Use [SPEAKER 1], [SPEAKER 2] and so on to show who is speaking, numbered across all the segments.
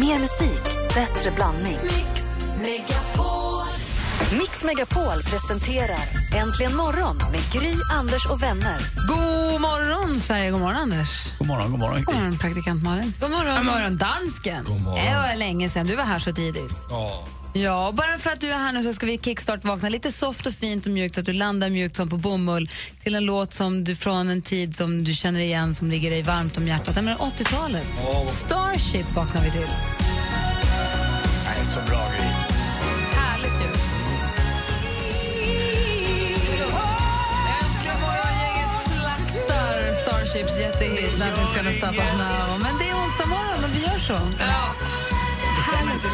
[SPEAKER 1] Mer musik, bättre blandning.
[SPEAKER 2] Mix Megapol.
[SPEAKER 1] Mix Megapol presenterar Äntligen morgon med Gry, Anders och vänner.
[SPEAKER 3] God morgon, Sverige. God morgon, Anders.
[SPEAKER 4] God morgon, god morgon.
[SPEAKER 3] God
[SPEAKER 5] Mm.
[SPEAKER 3] morgon, praktikant Malin.
[SPEAKER 2] God morgon.
[SPEAKER 3] God morgon, dansken.
[SPEAKER 4] God morgon.
[SPEAKER 3] Det var länge sedan. Du var här så tidigt.
[SPEAKER 4] Ja,
[SPEAKER 3] Ja, bara för att du är här nu så ska vi kickstart-vakna lite soft och fint och mjukt, så att du landar mjukt som på bomull till en låt som du från en tid som du känner igen, som ligger dig varmt om hjärtat. Men 80-talet. Starship vaknar vi till.
[SPEAKER 4] nej, så bra grej.
[SPEAKER 3] Härligt ju. Äntligen morgongänget slaktar Starships jättehit. Nattenskarna stappas now. Men det är onsdag morgon och vi gör så. Härligt.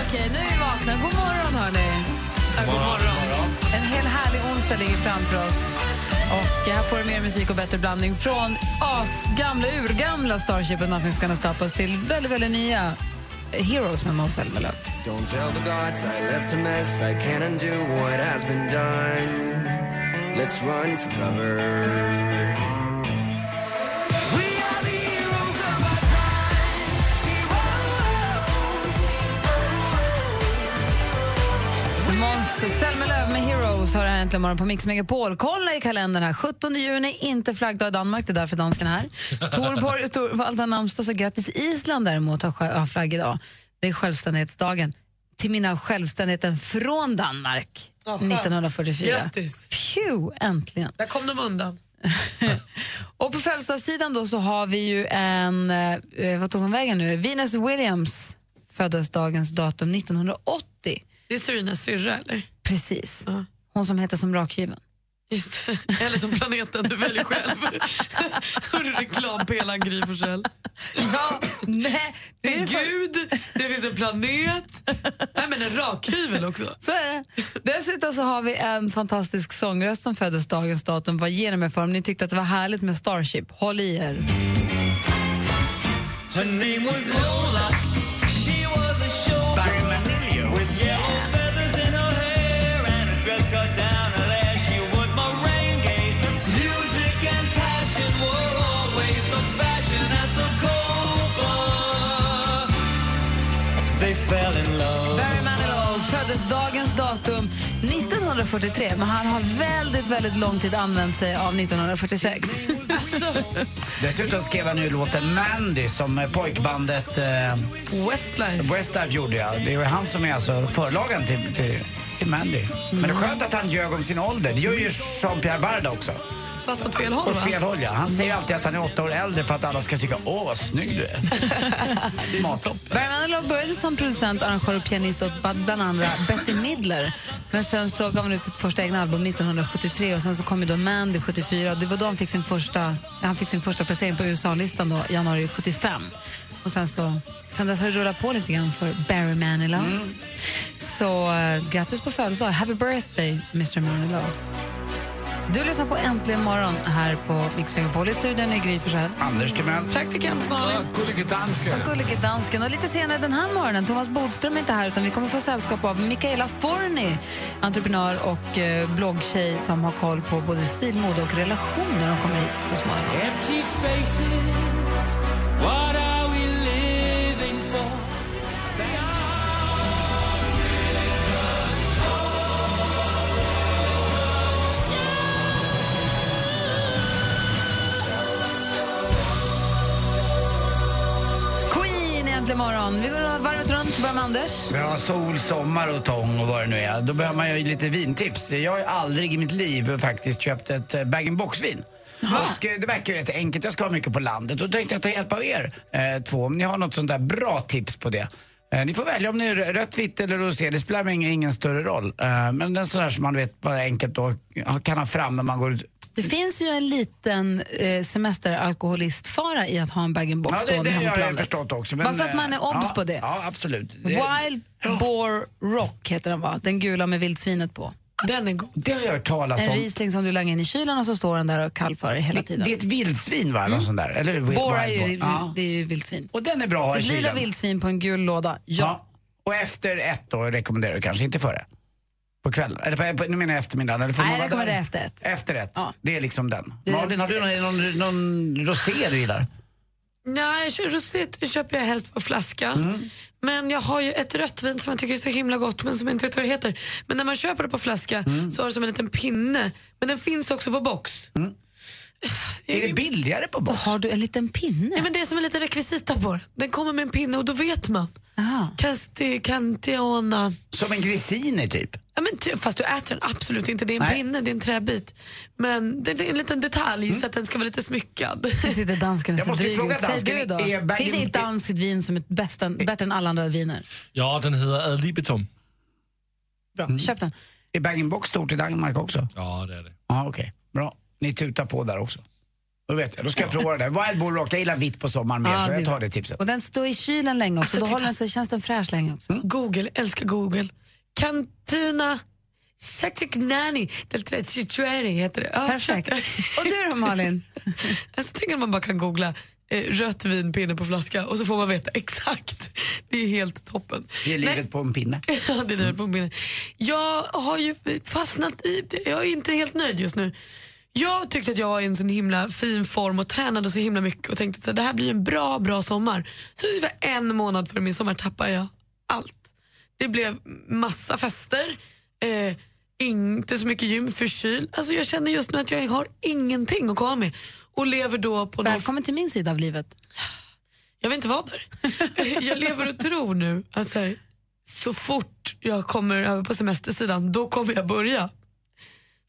[SPEAKER 3] Okej, nu är vi vakna. God morgon, hörni. En hel härlig onsdag ligger framför oss. Och här får du mer musik och bättre blandning från asgamla, urgamla Starship och Nothing's Gonna Stop Us till väldigt, väldigt nya Heroes med Måns Zelmerlöw.
[SPEAKER 6] Don't tell the gods I left a mess. I can't undo what has been done. Let's run for cover. We are the heroes of our time.
[SPEAKER 3] Måns Zelmerlöw med Heroes har äntligen morgon på Mix Megapol. Kolla i kalendern här. 17 juni, inte flaggdag i Danmark, det är därför dansken är här. Torborg och Torvald har namnsdag, så grattis Island däremot har sjö- har flagg idag. Det är självständighetsdagen. Till minne av självständigheten från Danmark
[SPEAKER 2] Ja, skönt.
[SPEAKER 3] 1944.
[SPEAKER 2] Grattis.
[SPEAKER 3] Phew, äntligen.
[SPEAKER 2] Där kom de undan.
[SPEAKER 3] Och på födelsedagssidan då så har vi ju en, eh, vad tog hon vägen nu? Venus Williams föddes dagens datum 1980.
[SPEAKER 2] Det är Syrinas syrra, eller?
[SPEAKER 3] Precis.
[SPEAKER 2] Ja.
[SPEAKER 3] Hon som heter som rakhyveln.
[SPEAKER 2] Just det. Eller som planeten du väljer själv. Hörru, Reklampelaren Gry Forssell.
[SPEAKER 3] Ja, nej, det är
[SPEAKER 2] En
[SPEAKER 3] det för,
[SPEAKER 2] gud, det finns en planet. Nej men en rakhyvel också.
[SPEAKER 3] så är det. Dessutom så har vi en fantastisk sångröst som föddes dagens datum. Vad ger ni mig för om ni tyckte att det var härligt med Starship? Håll i er.
[SPEAKER 6] Her name was Lola. She was a show with yellow feathers in her hair and a dress cut down her leg. She would merengue. Music and passion were always the fashion at the Copa. They fell in love.
[SPEAKER 3] Barry Manilow föddes dagens datum 1943 men han har väldigt, väldigt lång tid använt sig av 1946.
[SPEAKER 5] Dessutom skrev han ju låten Mandy som eh, pojkbandet eh,
[SPEAKER 2] Westlife.
[SPEAKER 5] Westlife gjorde. Ja. Det är ju han som är alltså förlagen till, till, till Mandy. Men det är skönt att han ljög om sin ålder. Det gör ju Jean-Pierre Barda också.
[SPEAKER 2] Fast åt fel håll
[SPEAKER 4] Mm.
[SPEAKER 5] Åt
[SPEAKER 2] va?
[SPEAKER 5] fel håll, ja. Han säger ju alltid att han är åtta år äldre för att alla ska tycka åh vad snygg du är. Smart.
[SPEAKER 3] Barry Manilow började som producent, arrangör och pianist åt bland andra Betty Midler. Men sen så gav han ut sitt första egna album 1973 och sen så kom ju då Mandy 74. Och det var då han fick sin första, han fick sin första placering på USA-listan då, i januari 75. Och sen så, sen dess har det rullat på lite grann för Barry Manilow. Så eh, grattis på födelsedag. Happy birthday, Mr Manilow. Du lyssnar på Äntligen morgon här på Mix Megapol. I studion är Gry Forssell.
[SPEAKER 5] Anders Timell.
[SPEAKER 2] Praktikant Malin.
[SPEAKER 3] Gullige dansken. Och lite senare den här morgonen, Thomas Bodström är inte här utan vi kommer få sällskap av Mikaela Forni, entreprenör och eh, bloggtjej som har koll på både stil, mode och relationer. Hon kommer hit så småningom.
[SPEAKER 6] Empty spaces, what are we living for?
[SPEAKER 3] Queen är äntligen morgon. Vi går varvet runt, börjar med Anders.
[SPEAKER 5] Ja, sol, sommar och tång och vad det nu är. Då behöver man ju lite vintips. Jag har ju aldrig i mitt liv faktiskt köpt ett eh, bag-in-box-vin. Och eh, det verkar ju rätt enkelt. Jag ska ha mycket på landet. Då tänkte jag ta hjälp av er eh, två om ni har något sånt där bra tips på det. Eh, ni får välja om ni är rö- rött, vitt eller rosé. Det spelar ingen, ingen större roll. Eh, men den sån där som man vet bara enkelt då ha- kan ha fram när man går ut.
[SPEAKER 3] Det finns ju en liten eh, semesteralkoholistfara i att ha en bag-in-box
[SPEAKER 5] Ja, det,
[SPEAKER 3] stående
[SPEAKER 5] det
[SPEAKER 3] hemma
[SPEAKER 5] har
[SPEAKER 3] på
[SPEAKER 5] jag ju
[SPEAKER 3] landet.
[SPEAKER 5] förstått också.
[SPEAKER 3] Bara så att man är
[SPEAKER 5] eh,
[SPEAKER 3] obs
[SPEAKER 5] ja,
[SPEAKER 3] på det.
[SPEAKER 5] Ja, absolut. Det, Oh.
[SPEAKER 3] Wild Boar Rock heter den va? Den gula med vildsvinet på.
[SPEAKER 2] Den är god.
[SPEAKER 5] det har jag hört talas
[SPEAKER 3] En
[SPEAKER 5] om.
[SPEAKER 3] Riesling som du langar in i kylen och så står den där och kallför dig hela tiden.
[SPEAKER 5] Det är ett vildsvin va? Någon sån där. Eller, wild-
[SPEAKER 3] Bora är
[SPEAKER 5] wild
[SPEAKER 3] ju,
[SPEAKER 5] boar. Ja.
[SPEAKER 3] det är ju vildsvin.
[SPEAKER 5] Och den är bra att ha i
[SPEAKER 3] Ett lila
[SPEAKER 5] kylen.
[SPEAKER 3] vildsvin på en gul låda. Ja.
[SPEAKER 5] Ja. Och efter ett då rekommenderar du kanske, inte före? På kvällen? Eller på, på, nu menar jag eftermiddagen. Eller får
[SPEAKER 3] Nej,
[SPEAKER 5] man
[SPEAKER 3] det kommer
[SPEAKER 5] vara- Eh.
[SPEAKER 3] det efter ett.
[SPEAKER 5] Efter ett.
[SPEAKER 3] Ja.
[SPEAKER 5] Det är liksom den.
[SPEAKER 3] Det-
[SPEAKER 5] Malin, har du någon, någon, någon rosé du gillar?
[SPEAKER 2] Nej, jag kör rosé köper jag helst på flaska. Men jag har ju ett rött vin som jag tycker är så himla gott men som jag inte vet vad det heter. Men när man köper det på flaska så har det som en liten pinne. Men den finns också på box.
[SPEAKER 5] Är det billigare på
[SPEAKER 3] Då
[SPEAKER 5] box?
[SPEAKER 3] har du en liten pinne.
[SPEAKER 2] Nej, men det är som en liten rekvisita på den. Den kommer med en pinne och då vet man.
[SPEAKER 3] Aha.
[SPEAKER 2] Casti, Cantiana.
[SPEAKER 5] Som en grissini typ?
[SPEAKER 2] Ja, men ty- fast du äter den absolut inte, det är en
[SPEAKER 5] Nej.
[SPEAKER 2] pinne, det är en träbit. Men det det är en liten detalj
[SPEAKER 5] Mm.
[SPEAKER 2] så att den ska vara lite smyckad.
[SPEAKER 3] Nu sitter dansken och
[SPEAKER 5] Jag
[SPEAKER 3] ser
[SPEAKER 5] måste
[SPEAKER 3] dryg
[SPEAKER 5] fråga
[SPEAKER 3] ut. Säg
[SPEAKER 5] dansken,
[SPEAKER 3] du då.
[SPEAKER 5] är Eh. Bergen-
[SPEAKER 3] Finns det ett danskt vin som är bäst än, bättre än alla andra viner?
[SPEAKER 7] Ja, den heter Ad libitum.
[SPEAKER 3] Bra,
[SPEAKER 5] Mm.
[SPEAKER 3] köp den.
[SPEAKER 5] Är bag-in-box stort i Danmark också?
[SPEAKER 7] Ja, det är det.
[SPEAKER 5] Ja, okej. Bra. Ni tutar på där också. Då vet jag. Då ska jag prova det där. Wild Bull Rock, jag gillar vitt på sommaren mer
[SPEAKER 3] Ja,
[SPEAKER 5] så
[SPEAKER 3] det
[SPEAKER 5] jag
[SPEAKER 3] är
[SPEAKER 5] tar
[SPEAKER 3] bra.
[SPEAKER 5] det tipset.
[SPEAKER 3] Och den står i kylen länge också,
[SPEAKER 2] Alltså,
[SPEAKER 3] då
[SPEAKER 2] titta.
[SPEAKER 3] håller den sig, känns den fräsch länge
[SPEAKER 5] Mm.
[SPEAKER 3] också.
[SPEAKER 2] Google, älskar Google. Cantina Sachignani del 33 heter det. Ja,
[SPEAKER 3] Perfekt.
[SPEAKER 2] köp det.
[SPEAKER 3] Och du då Malin?
[SPEAKER 2] Alltså, tänk om man bara kan googla eh, rött vin, pinne på flaska och så får man veta exakt. Det är helt toppen.
[SPEAKER 5] Det är
[SPEAKER 2] Nej,
[SPEAKER 5] livet på en pinne.
[SPEAKER 2] Ja, det är det på min. Jag har ju fastnat i, jag är inte helt nöjd just nu. Jag tyckte att jag var i en sån himla fin form och tränade så himla mycket och tänkte att det här blir en bra, bra sommar. Så ungefär en månad före min sommar tappade jag allt. Det blev massa fester, eh, inte så mycket gym, förkyld. Alltså jag känner just nu att jag har ingenting att komma med och lever då på någon
[SPEAKER 3] Välkommen till min sida av livet.
[SPEAKER 2] jag vill inte vara där. jag lever och tror nu att så, här, så fort jag kommer över på semestersidan, då kommer jag börja.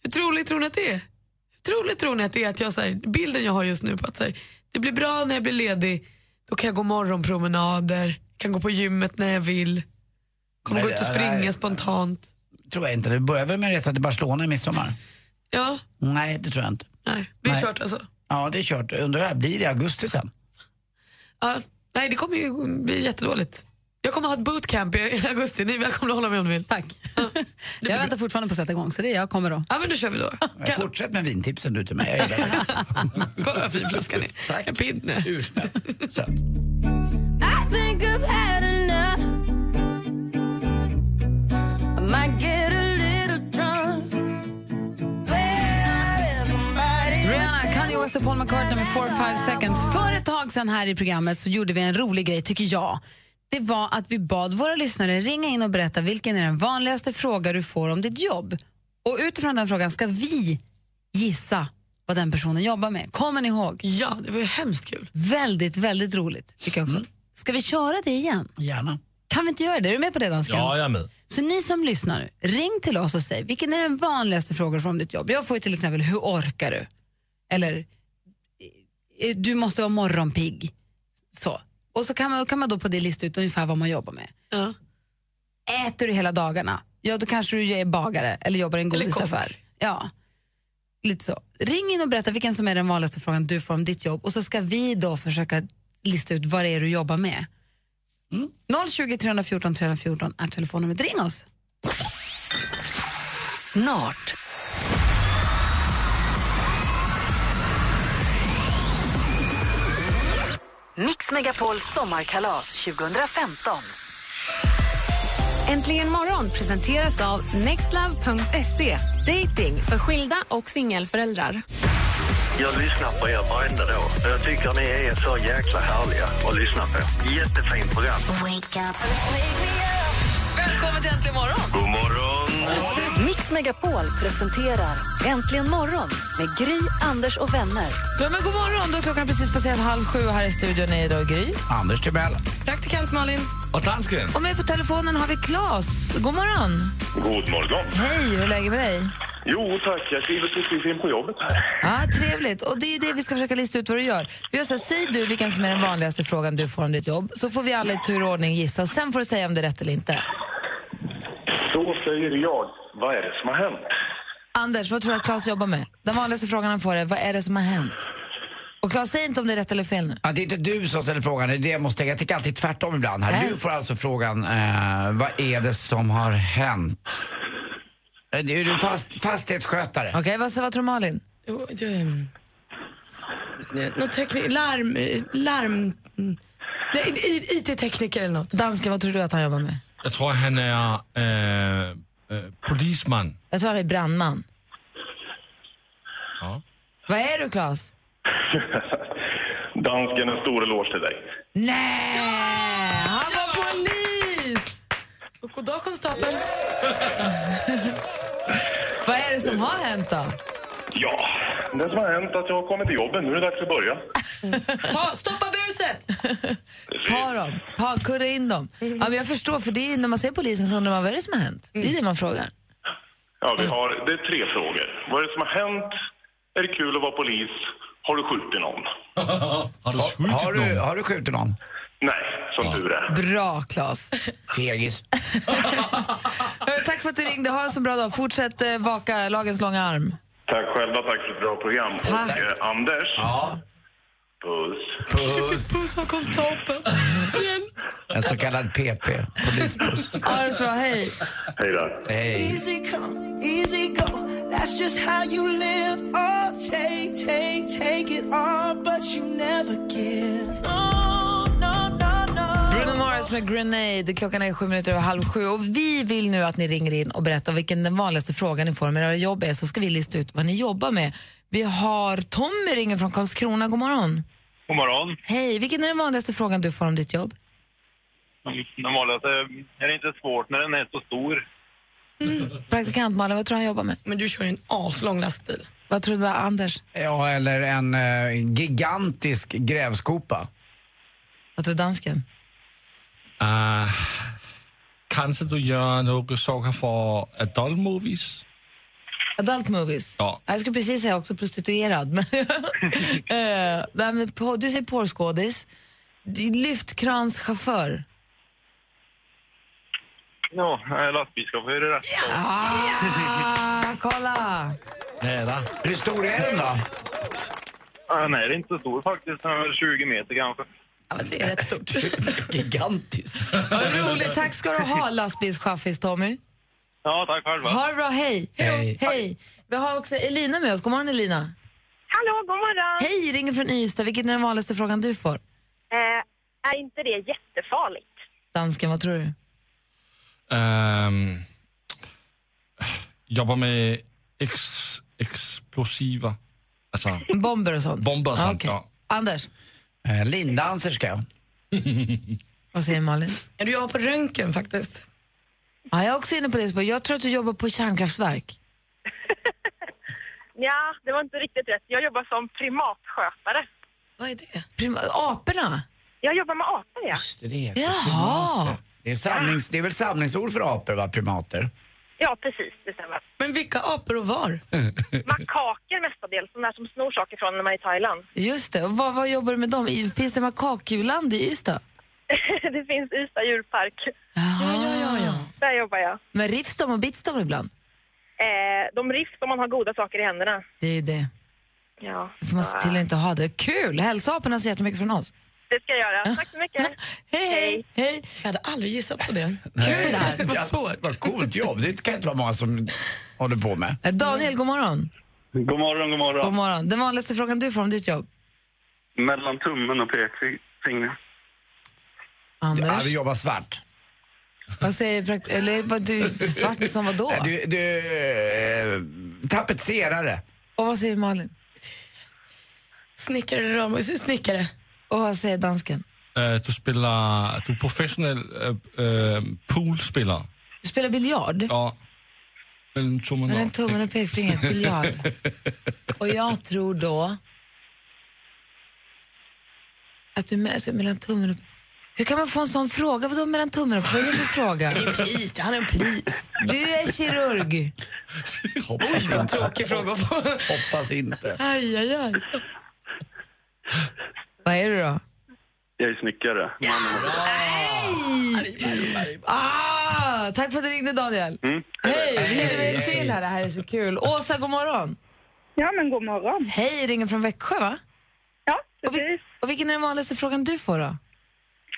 [SPEAKER 2] Hur troligt tror ni att det är? Hur troligt tror ni att det är att jag, så här, bilden jag har just nu på att så här, det blir bra när jag blir ledig, då kan jag gå morgonpromenader, kan gå på gymmet när jag vill,
[SPEAKER 5] Nej,
[SPEAKER 2] kommer gå ut och
[SPEAKER 5] det-
[SPEAKER 2] springa
[SPEAKER 5] nej.
[SPEAKER 2] spontant.
[SPEAKER 5] Tror jag inte. Det börjar väl med en resa till Barcelona i midsommar?
[SPEAKER 2] Ja,
[SPEAKER 5] Nej, det tror jag inte.
[SPEAKER 2] nej, det är
[SPEAKER 5] Nej.
[SPEAKER 2] kört alltså.
[SPEAKER 5] Ja, det är kört. Undrar hur det här blir i augusti sen.
[SPEAKER 2] Ja, nej, det kommer ju bli jättedåligt. Jag kommer ha ett bootcamp i augusti, ni är välkomna att hålla med om ni vill.
[SPEAKER 3] Tack. jag väntar fortfarande på att sätta igång, så det är jag kommer då.
[SPEAKER 2] Ja men då kör vi då. Kan-
[SPEAKER 5] Fortsätt med vintipsen du till mig. Jag gillar det.
[SPEAKER 2] Kolla vad fin flaskan är.
[SPEAKER 5] Tack.
[SPEAKER 2] En pinne.
[SPEAKER 5] Ursnäll. Söt.
[SPEAKER 8] I think I've had enough. I might get a little drunk. Where is somebody?
[SPEAKER 3] Rihanna, Kanye West och Paul McCartney med 4-5 seconds. För ett tag sedan här i programmet så gjorde vi en rolig grej, tycker jag. Det var att vi bad våra lyssnare ringa in och berätta vilken är den vanligaste fråga du får om ditt jobb. Och utifrån den frågan ska vi gissa vad den personen jobbar med. Kommer ni ihåg?
[SPEAKER 2] Ja, det var ju hemskt kul.
[SPEAKER 3] Väldigt, väldigt roligt tycker jag också. Ska vi köra det igen?
[SPEAKER 5] Gärna.
[SPEAKER 3] Kan vi inte göra det? Är du med på det dansken?
[SPEAKER 7] Ja, jag är med.
[SPEAKER 3] Så ni som lyssnar, nu, ring till oss och säg vilken är den vanligaste frågan från ditt jobb? Jag får ju till exempel, hur orkar du? Eller, "Eh, du måste vara morgonpigg. Så. Och så kan man, kan man då på det lista ut ungefär vad man jobbar med.
[SPEAKER 2] Ja.
[SPEAKER 3] Äter du hela dagarna? Ja, då kanske du är bagare eller jobbar i en
[SPEAKER 2] Eller kock.
[SPEAKER 3] godisaffär. Ja. Lite så. Ring in och berätta vilken som är den vanligaste frågan du får om ditt jobb och så ska vi då försöka lista ut vad det är du jobbar med.
[SPEAKER 2] Mm.
[SPEAKER 3] 020 314 314 är telefonnumret. Ring oss!
[SPEAKER 1] Snart. Mix Megapols sommarkalas 2015.
[SPEAKER 9] Äntligen morgon presenteras av nextlove.se. Dating för skilda och singelföräldrar.
[SPEAKER 10] Jag lyssnar på er varenda dag. Jag tycker ni är så jäkla härliga att lyssna på. Jättefint program.
[SPEAKER 3] Välkommen till Äntligen morgon!
[SPEAKER 10] God morgon!
[SPEAKER 1] Mix Megapol presenterar Äntligen morgon med Gry, Anders och vänner.
[SPEAKER 3] Ja, men god morgon! Då är klockan precis passerat halv sju och här i studion är idag Gry.
[SPEAKER 5] Anders Timell.
[SPEAKER 2] Praktikant Malin.
[SPEAKER 7] Och dansken.
[SPEAKER 3] Och med på telefonen har vi Claes. God morgon!
[SPEAKER 10] God morgon!
[SPEAKER 3] Hej, hur är läget med dig?
[SPEAKER 10] Jo tack, jag kliver precis in på jobbet här.
[SPEAKER 3] Ja, trevligt. Och det är ju det vi ska försöka lista ut vad du gör. Vi gör så här, säg du vilken som är den vanligaste frågan du får om ditt jobb, så får vi alla i tur och ordning gissa och sen får du säga om det är rätt eller inte.
[SPEAKER 10] Så säger jag, vad är det som har hänt?
[SPEAKER 3] Anders, vad tror du att Claes jobbar med? Den vanligaste frågan han får är, vad är det som har hänt? Och Claes, säg inte om det är rätt eller fel nu.
[SPEAKER 5] Ja, det är inte du som ställer frågan, det är det jag måste tänka. Jag tycker alltid tvärtom ibland här.
[SPEAKER 3] Nej.
[SPEAKER 5] Du får alltså frågan, eh, vad är det som har hänt? Eh, det Är du fast, fastighetsskötare?
[SPEAKER 3] Okej, vad, så, vad tror Malin?
[SPEAKER 2] Jo, det- ehm, Något teknik... Larm... eh, larm mm. Det är IT-tekniker eller något.
[SPEAKER 3] Dansken, vad tror du att han jobbar med?
[SPEAKER 7] Jag tror, han är eh, Polisman.
[SPEAKER 3] Jag tror han är brandman.
[SPEAKER 7] Ja.
[SPEAKER 3] Vad är du, Claes?
[SPEAKER 11] Dansken, en stor eloge till dig.
[SPEAKER 3] Nej! Han var polis!
[SPEAKER 2] Och god dag, konstapeln.
[SPEAKER 3] Vad är det som har hänt då?
[SPEAKER 11] Ja, det som har hänt är att jag har kommit till jobbet. Nu är det dags att börja.
[SPEAKER 12] Ah,
[SPEAKER 3] Ta, stoppa buset! Ta dem, ta, kurra in dem. Ja, men jag förstår, för det är, när man ser polisen så undrar man vad är det som har hänt. Det är det man frågar.
[SPEAKER 11] Ja, vi har, det är tre frågor. Vad är det som har hänt? Är det kul att vara polis? Har du skjutit någon?
[SPEAKER 5] Har du skjutit har, du, har du skjutit någon?
[SPEAKER 11] Nej, som tur är.
[SPEAKER 3] Bra, Claes.
[SPEAKER 5] Fegis.
[SPEAKER 3] Eh, Tack för att du ringde. Ha en så bra dag. Fortsätt eh, vaka lagens långa arm.
[SPEAKER 11] Tack själva, tack för ett bra program.
[SPEAKER 3] Tack.
[SPEAKER 11] Och eh, Anders. Ja. Puss.
[SPEAKER 2] Puss av konstapeln.
[SPEAKER 5] En så kallad PP, polisbuss.
[SPEAKER 3] Ha det så bra. Hej.
[SPEAKER 11] Hej då.
[SPEAKER 5] Hej.
[SPEAKER 13] Easy come, easy go. That's just how you live. Oh, take, take, take it all, but you never give. No, no, no, no.
[SPEAKER 3] Bruno Mars med Grenade. Klockan är sju minuter över halv sju. Och vi vill nu att ni ringer in och berättar vilken den vanligaste frågan ni får om era jobb är, så ska vi lista ut vad ni jobbar med. Vi har Tommy ringer från Karlskrona. God morgon.
[SPEAKER 14] God morgon.
[SPEAKER 3] Hej. Vilken är den vanligaste frågan du får om ditt jobb?
[SPEAKER 14] Den vanligaste, är det inte svårt när den är så stor?
[SPEAKER 3] Praktikant Malin, vad tror du han jobbar med?
[SPEAKER 2] Men du kör ju en aslång lastbil.
[SPEAKER 3] Vad tror du Anders?
[SPEAKER 5] Ja, eller en eh, gigantisk grävskopa.
[SPEAKER 3] Vad tror dansken?
[SPEAKER 7] Uh, kanske du gör några saker för adult movies?
[SPEAKER 3] Adult movies?
[SPEAKER 7] Ja.
[SPEAKER 3] Jag skulle precis säga också prostituerad. Men Eh, nej, men på- du säger porrskådis. Du- Lyftkranschaufför.
[SPEAKER 14] Ja, eh, jag är lastbilschaufför är rätt.
[SPEAKER 3] Ah, kolla!
[SPEAKER 7] Nära.
[SPEAKER 5] Hur stor är den då?
[SPEAKER 14] Ja, Den är inte så stor faktiskt, den är 20 meter kanske.
[SPEAKER 3] det är rätt stort.
[SPEAKER 5] Gigantiskt.
[SPEAKER 3] Roligt. Tack ska du ha, lastbilschaffis Tommy.
[SPEAKER 14] Ja, tack själva.
[SPEAKER 3] Ha det bra, hej.
[SPEAKER 14] Hej.
[SPEAKER 3] hej. Vi har också Elina med oss. God morgon Elina.
[SPEAKER 12] Hallå, god morgon.
[SPEAKER 3] Hej, ringer från Ystad. Vilken är den vanligaste frågan du får?
[SPEAKER 12] Eh, är inte det jättefarligt?
[SPEAKER 3] Dansken, vad tror du?
[SPEAKER 7] Ehm, jobbar med ex, explosiva. Alltså,
[SPEAKER 3] Bomber och sånt?
[SPEAKER 7] Bomber och
[SPEAKER 3] Ah,
[SPEAKER 7] sånt,
[SPEAKER 3] okej.
[SPEAKER 7] ja.
[SPEAKER 3] Anders?
[SPEAKER 5] Eh, lindanserska.
[SPEAKER 3] Vad säger Malin?
[SPEAKER 2] Är du jag på röntgen faktiskt?
[SPEAKER 3] Ja, jag är också inne på det. spåret. Jag tror att du jobbar på kärnkraftverk.
[SPEAKER 12] Ja, det var inte riktigt rätt. Jag jobbar som primatskötare.
[SPEAKER 2] Vad är det?
[SPEAKER 3] Prim- aporna?
[SPEAKER 12] Jag jobbar med apor, ja.
[SPEAKER 5] Det
[SPEAKER 3] Jaha.
[SPEAKER 5] Det är, samlings, det är väl samlingsord för apor, va? Primater.
[SPEAKER 12] Ja, precis. Det stämmer.
[SPEAKER 2] Men vilka apor och var?
[SPEAKER 12] Makaker mestadels, de där som snor saker från när man är i Thailand.
[SPEAKER 3] Just det. Och vad, vad jobbar du med dem? I- Finns det makakuland i Ystad?
[SPEAKER 12] det finns Ystad djurpark.
[SPEAKER 3] ja, ja, ja.
[SPEAKER 12] Där jobbar jag.
[SPEAKER 3] Ah. Men rivs de och bits de ibland?
[SPEAKER 12] Eh, de rivs om man har goda saker i händerna.
[SPEAKER 3] Det är ju det.
[SPEAKER 12] Ja.
[SPEAKER 3] Då får man se till att inte ha det. Kul! Hälsa aporna så jättemycket från oss.
[SPEAKER 12] Det ska jag göra. Tack så mycket.
[SPEAKER 3] hej, hej, hej.
[SPEAKER 2] Jag hade aldrig gissat på det.
[SPEAKER 5] Kul det
[SPEAKER 2] här.
[SPEAKER 5] Vad svårt. Vad coolt jobb. Det kan inte vara många som håller på med.
[SPEAKER 3] Eh, Daniel, god morgon.
[SPEAKER 15] God morgon, god morgon.
[SPEAKER 3] God morgon. Den vanligaste frågan du får om ditt jobb?
[SPEAKER 15] Mellan tummen och pekfingret.
[SPEAKER 3] Anders?
[SPEAKER 5] Ja, vi jobbar svart.
[SPEAKER 3] Vad säger prakt- Eller vad du... Svart som vad då?
[SPEAKER 5] Du, du eh, tapetserare.
[SPEAKER 3] Och vad säger Malin?
[SPEAKER 2] Snickare eller rörmokare? Snickare.
[SPEAKER 3] Och vad säger dansken?
[SPEAKER 7] Eh, du spelar, du är professionell eh, eh, poolspelare.
[SPEAKER 3] Du spelar biljard?
[SPEAKER 7] Ja. Mellan tummen
[SPEAKER 3] Mellan tummen och pekfingret, biljard. Och jag tror då att du med, alltså, mellan tummen och... Hur kan man få en sån fråga? Vadå mellan tummen och... Vad är det för fråga?
[SPEAKER 2] Polis, han är en polis.
[SPEAKER 3] Du är kirurg.
[SPEAKER 5] Hoppas
[SPEAKER 2] Oj, vad tråkig fråga att få.
[SPEAKER 5] Hoppas inte.
[SPEAKER 2] Aj, aj, aj.
[SPEAKER 3] Vad är du då?
[SPEAKER 15] Jag är snickare.
[SPEAKER 3] Nej! Ah, tack för att du ringde, Daniel.
[SPEAKER 15] Mm.
[SPEAKER 3] Hej, vi hinner med en
[SPEAKER 15] Hej.
[SPEAKER 3] till här. Det här är så kul. Åsa, god morgon.
[SPEAKER 16] Ja, men god morgon.
[SPEAKER 3] Hej, ringer från Växjö, va?
[SPEAKER 16] Ja,
[SPEAKER 3] precis. Och, vil- och vilken är den vanligaste frågan du får då?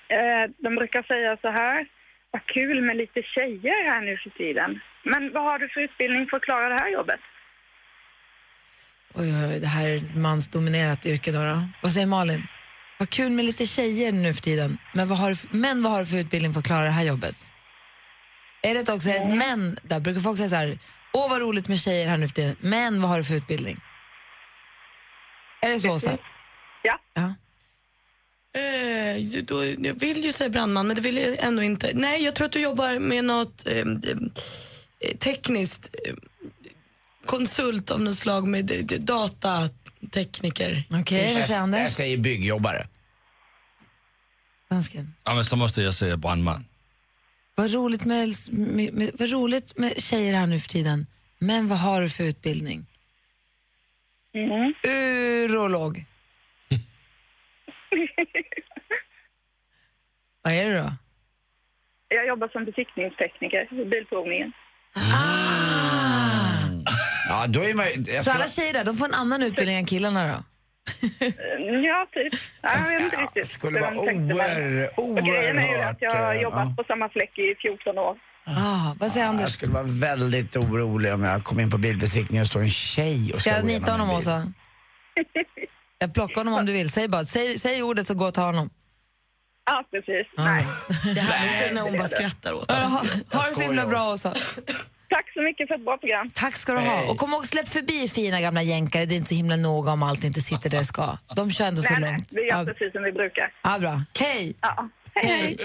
[SPEAKER 16] Eh, de brukar säga så här, vad kul med lite tjejer här nu för tiden. Men vad har du för utbildning för att klara det här jobbet?
[SPEAKER 3] Oj, oj, oj, det här är ett mansdominerat yrke då. då. Vad säger Malin? Vad kul med lite tjejer nu för tiden. Men vad har du för, men vad har du för utbildning för att klara det här jobbet? Är det också är det ett men? Där brukar folk säga så här, åh vad roligt med tjejer här nu för tiden, men vad har du för utbildning? Är det så, Åsa?
[SPEAKER 11] Ja.
[SPEAKER 2] Eh, ju- då, jag vill ju säga brandman, men det vill jag ändå inte. Nej, jag tror att du jobbar med något eh, eh, tekniskt. Eh, konsult av något slag med eh, d- d- datatekniker.
[SPEAKER 5] Jag- Jag säger byggjobbare.
[SPEAKER 7] Ja, men så måste jag säga brandman.
[SPEAKER 3] Vad roligt med, med, med, vad roligt med tjejer här nu för tiden, men vad har du för utbildning? Urolog. vad är det då?
[SPEAKER 11] Jag jobbar som besiktningstekniker i bilprovningen.
[SPEAKER 5] Ja, då är man ju- jag
[SPEAKER 3] Så
[SPEAKER 5] ska-
[SPEAKER 3] alla tjejer där, de får en annan utbildning än killarna då?
[SPEAKER 11] Eh, Ja, typ. Ja, jag vet inte riktigt.
[SPEAKER 5] skulle
[SPEAKER 11] vad de
[SPEAKER 5] vara
[SPEAKER 11] tänkte, men-
[SPEAKER 5] oer-
[SPEAKER 11] Och grejen är ju
[SPEAKER 5] oerhört,
[SPEAKER 11] att jag har
[SPEAKER 5] eh,
[SPEAKER 11] jobbat
[SPEAKER 5] ja.
[SPEAKER 11] på samma fläck i 14 år.
[SPEAKER 3] Ah, vad säger
[SPEAKER 5] Jag skulle vara väldigt orolig om jag kom in på bilbesiktningen och står en tjej och
[SPEAKER 3] Ska jag
[SPEAKER 5] slår
[SPEAKER 3] nita
[SPEAKER 5] igenom
[SPEAKER 3] honom,
[SPEAKER 5] min bil.
[SPEAKER 3] Åsa? Jag plockar honom om du vill. Säg bara, säg, säg ordet så gå och ta honom.
[SPEAKER 11] Ja, precis.
[SPEAKER 3] Nej.
[SPEAKER 2] Det här är när hon bara skrattar åt oss.
[SPEAKER 3] Ha, ha det så himla bra, Åsa.
[SPEAKER 11] Tack så mycket för ett bra program.
[SPEAKER 3] Tack ska du ha. Och kom ihåg, släpp förbi fina gamla jänkare. Det är inte så himla noga om allt inte sitter där det ska. De kör ändå så
[SPEAKER 11] nej, nej,
[SPEAKER 3] långt.
[SPEAKER 11] vi gör precis som vi brukar.
[SPEAKER 3] Ja, bra. Hej!
[SPEAKER 11] Ja.
[SPEAKER 3] Hej!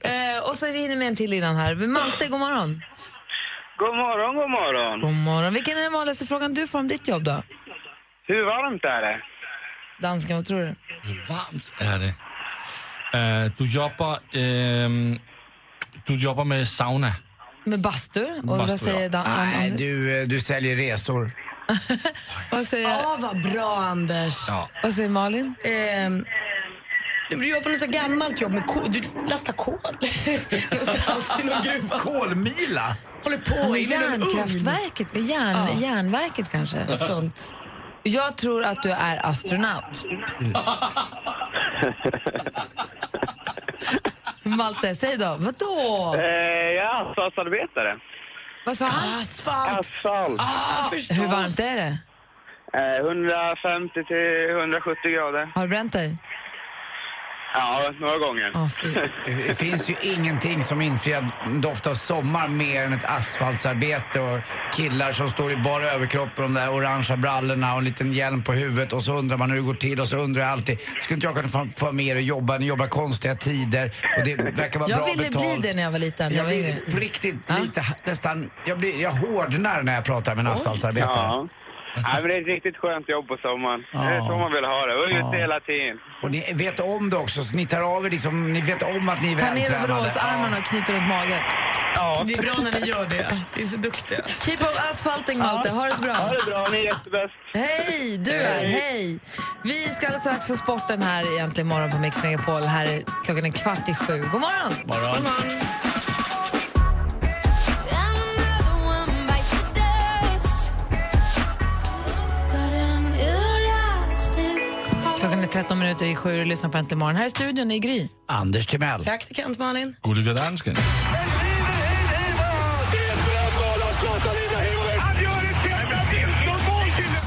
[SPEAKER 3] Eh, och så är vi hinner med en till innan här. Malte, god morgon.
[SPEAKER 6] God morgon, god morgon.
[SPEAKER 3] God morgon. Vilken är den vanligaste frågan du får om ditt jobb då?
[SPEAKER 6] Hur varmt är det?
[SPEAKER 3] Dansken, vad tror du?
[SPEAKER 7] Hur varmt är det? Eh, du, jobbar, ehm, du jobbar med sauna.
[SPEAKER 3] Med bastu? Och
[SPEAKER 7] Bastu,
[SPEAKER 3] vad säger
[SPEAKER 7] ja.
[SPEAKER 3] Dan? An-
[SPEAKER 5] Nej,
[SPEAKER 3] An-
[SPEAKER 5] du, eh, du säljer resor.
[SPEAKER 2] Vad säger Ja, vad bra Anders.
[SPEAKER 5] Ja.
[SPEAKER 3] Vad säger Malin?
[SPEAKER 2] Ehm, du jobbar på något så gammalt jobb med kol. Du lastar kol någonstans i någon gruva.
[SPEAKER 5] Kolmila?
[SPEAKER 2] Håller
[SPEAKER 3] Ja,
[SPEAKER 2] på
[SPEAKER 3] men
[SPEAKER 2] i någon ugn.
[SPEAKER 3] järnkraftverket, järn, järnverket kanske?
[SPEAKER 2] Något sånt.
[SPEAKER 3] Jag tror att du är astronaut. Malte, säg då. Vadå?
[SPEAKER 6] Eh, jag är asfaltarbetare.
[SPEAKER 3] Vad sa han?
[SPEAKER 2] Asfalt.
[SPEAKER 6] Asfalt.
[SPEAKER 3] Ah, Hur varmt är det?
[SPEAKER 6] Eh, 150 till 170 grader.
[SPEAKER 3] Har du bränt dig?
[SPEAKER 6] Ja, några gånger.
[SPEAKER 5] Eh, Det finns ju ingenting som infriar en doft av sommar mer än ett asfaltsarbete och killar som står i bara överkropp och de där orangea brallorna och en liten hjälm på huvudet och så undrar man hur det går till och så undrar jag alltid, skulle inte jag kunna få- få med er och jobba? Ni jobbar konstiga tider och det verkar vara
[SPEAKER 3] Jag
[SPEAKER 5] bra
[SPEAKER 3] ville
[SPEAKER 5] betalt.
[SPEAKER 3] bli det när jag var liten. Jag
[SPEAKER 5] Jag
[SPEAKER 3] var
[SPEAKER 5] blir
[SPEAKER 3] yngre.
[SPEAKER 5] på riktigt lite, nästan, jag, blir, jag hårdnar när jag pratar med en asfaltsarbetare.
[SPEAKER 6] Ja. Nej, men det är ett riktigt skönt jobb på sommaren. Det är
[SPEAKER 5] Ja.
[SPEAKER 6] så man vill ha det. Och ute
[SPEAKER 5] Ja.
[SPEAKER 6] hela tiden.
[SPEAKER 5] Och ni vet om det också, så ni tar av er liksom, ni vet om att ni är
[SPEAKER 3] Ta ner
[SPEAKER 5] vältränade.
[SPEAKER 3] overallsarmarna och knyter runt magen.
[SPEAKER 6] Ja.
[SPEAKER 2] Det är bra när ni gör det. Ni är så duktiga.
[SPEAKER 3] Keep on asfalting, Malte. Ha det så bra.
[SPEAKER 2] Ha det
[SPEAKER 6] bra. Ni är jättebäst.
[SPEAKER 3] Hej! Du är
[SPEAKER 2] Hej.
[SPEAKER 3] hej! Vi ska alldeles strax få sporten här egentligen morgon på Mix Megapol. Här är klockan en kvart i sju. God morgon!
[SPEAKER 5] morgon.
[SPEAKER 3] Klockan är 13 minuter i sju och lyssnar på Äntligen morgon. Här i studion i Gry.
[SPEAKER 5] Anders Timell.
[SPEAKER 2] Praktikant Malin.
[SPEAKER 7] Gulliga dansken.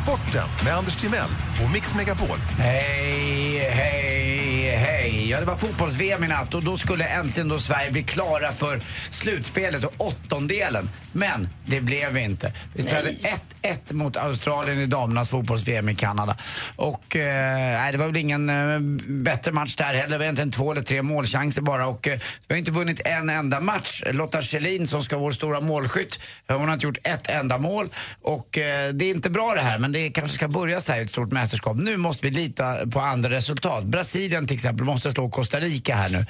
[SPEAKER 10] Sporten med Anders Timell och Mix Megapol.
[SPEAKER 5] Hej, hej, hej. Ja, det var fotbolls-VM i natt och då skulle äntligen då Sverige bli klara för slutspelet och åttondelen. Men det blev vi inte. Vi spelade 1-1 mot Australien i damernas fotbolls-VM i Kanada. Och eh, nej, det var väl ingen eh, bättre match där heller. Det var egentligen två eller tre målchanser bara och eh, vi har inte vunnit en enda match. Lotta Schelin som ska vara vår stora målskytt, hon har inte gjort ett enda mål. Och eh, det är inte bra det här men det kanske ska börja så här i ett stort mästerskap. Nu måste vi lita på andra resultat. Brasilien till exempel måste slå Costa Rica här nu.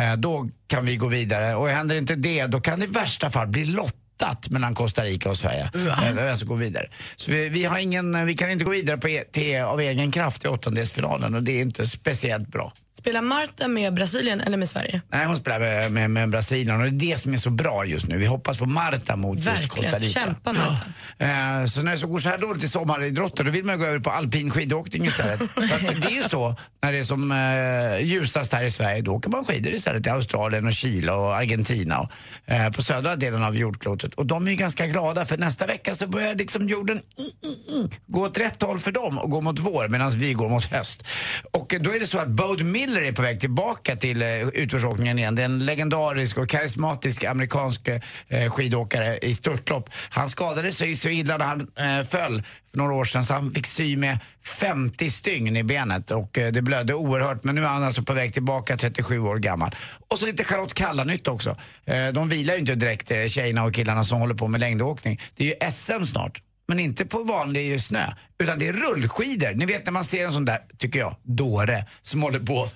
[SPEAKER 5] Eh, då kan vi gå vidare och händer inte det då kan det i värsta fall bli lottat mellan Costa Rica och Sverige. Eh, Vem som går vidare. Så vi, vi, har ingen, eh, vi kan inte gå vidare på e, till, av egen kraft i åttondelsfinalen och det är inte speciellt bra.
[SPEAKER 2] Spelar Marta med Brasilien eller med Sverige?
[SPEAKER 5] Nej, hon spelar med, med, med Brasilien och det är det som är så bra just nu. Vi hoppas på Marta mot
[SPEAKER 2] Verkligen.
[SPEAKER 5] just Costa Rica.
[SPEAKER 2] Kämpa, Marta.
[SPEAKER 5] Ja. Eh, Så när det så går så här dåligt i sommaridrotter då vill man ju gå över på alpin skidåkning istället. så att det är ju så, när det är som eh, ljusast här i Sverige, då åker man skidor istället till Australien och Chile och Argentina och, eh, på södra delen av jordklotet. Och de är ju ganska glada för nästa vecka så börjar liksom jorden i, i, i, gå åt rätt håll för dem och gå mot vår medan vi går mot höst. Och eh, då är det så att Bode Miller Miller är på väg tillbaka till eh, utförsåkningen igen. Det är en legendarisk och karismatisk amerikansk eh, skidåkare i störtlopp. Han skadade sig så illa när han eh, föll för några år sedan så han fick sy med 50 stygn i benet och eh, det blödde oerhört. Men nu är han alltså på väg tillbaka 37 år gammal. Och så lite Charlotte Kalla-nytt också. Eh, de vilar ju inte direkt eh, tjejerna och killarna som håller på med längdåkning. Det är ju SM snart. Men inte på vanlig snö, utan det är rullskidor. Ni vet när man ser en sån där, tycker jag, dåre som håller på och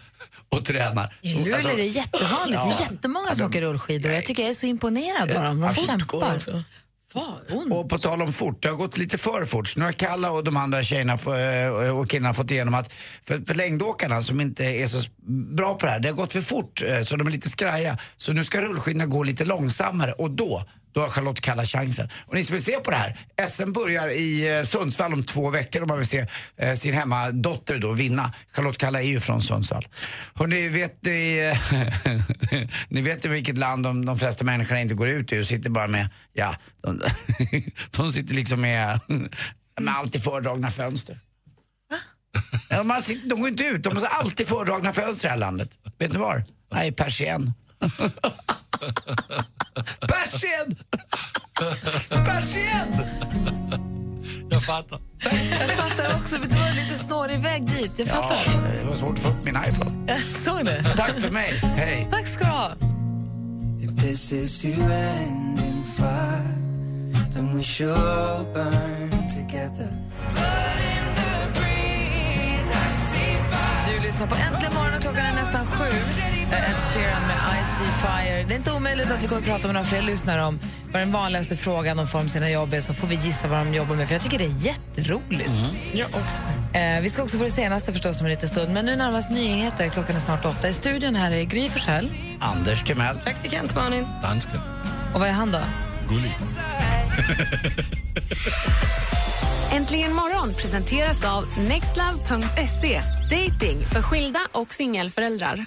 [SPEAKER 5] alltså, tränar.
[SPEAKER 3] I Luleå är det jättevanligt. Det är jättemånga som åker rullskidor. Jag tycker jag är så imponerad av dem. De kämpar.
[SPEAKER 5] Och på tal om fort, det har gått lite för fort. Så Nu har Kalla och de andra tjejerna få- eh, och killarna fått igenom att för, för längdåkarna som inte är så s- bra på det här, det har gått för fort eh, så de är lite skraja. Så nu ska rullskidorna gå lite långsammare och då då har Charlotte Kalla chansen. Och ni som vill se på det här, SM börjar i eh, Sundsvall om två veckor om man vill se eh, sin hemmadotter då vinna. Charlotte Kalla är ju från Sundsvall. Och ni vet ni, ni vet ju vilket land de, de flesta människorna inte går ut ur, sitter bara med, ja, de, de sitter liksom med, med alltid fördragna fönster. Ja, man sitter, de går inte ut, de har alltid fördragna fönster i det här landet. Vet ni var? Nej, persien. persien! Persien!
[SPEAKER 17] Jag fattar.
[SPEAKER 3] Jag fattar också, men du har lite snårig väg dit. Jag fattar.
[SPEAKER 5] Det var svårt att få upp min iPhone.
[SPEAKER 3] Jag såg det.
[SPEAKER 5] Tack för mig, hej.
[SPEAKER 3] Tack ska du ha.
[SPEAKER 18] If this is to end in fire, then we shall burn together.
[SPEAKER 3] Du lyssnar på Äntligen morgon och klockan är nästan sju. Det är Ed Sheeran med I see fire. Det är inte omöjligt att vi kommer att prata med några fler lyssnare om vad den vanligaste frågan de får om sina jobb är, så får vi gissa vad de jobbar med. För jag tycker det är jätteroligt.
[SPEAKER 2] Mm. Jag också.
[SPEAKER 3] Eh, vi ska också få det senaste förstås om en liten stund, men nu närmast nyheter. Klockan är snart åtta. I studion här är Gry Forssell.
[SPEAKER 5] Anders Timell.
[SPEAKER 2] Praktikant Malin.
[SPEAKER 17] Dansken.
[SPEAKER 3] Och vad är han då?
[SPEAKER 17] Gullig.
[SPEAKER 1] Äntligen morgon presenteras av nextlove.se. Dating för skilda och singelföräldrar.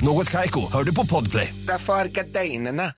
[SPEAKER 7] Något Kaiko, hör du på podplay.
[SPEAKER 6] Därför arkadeinerna.